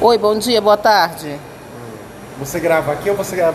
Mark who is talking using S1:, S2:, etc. S1: Oi, bom dia, boa tarde.
S2: Você grava aqui ou você grava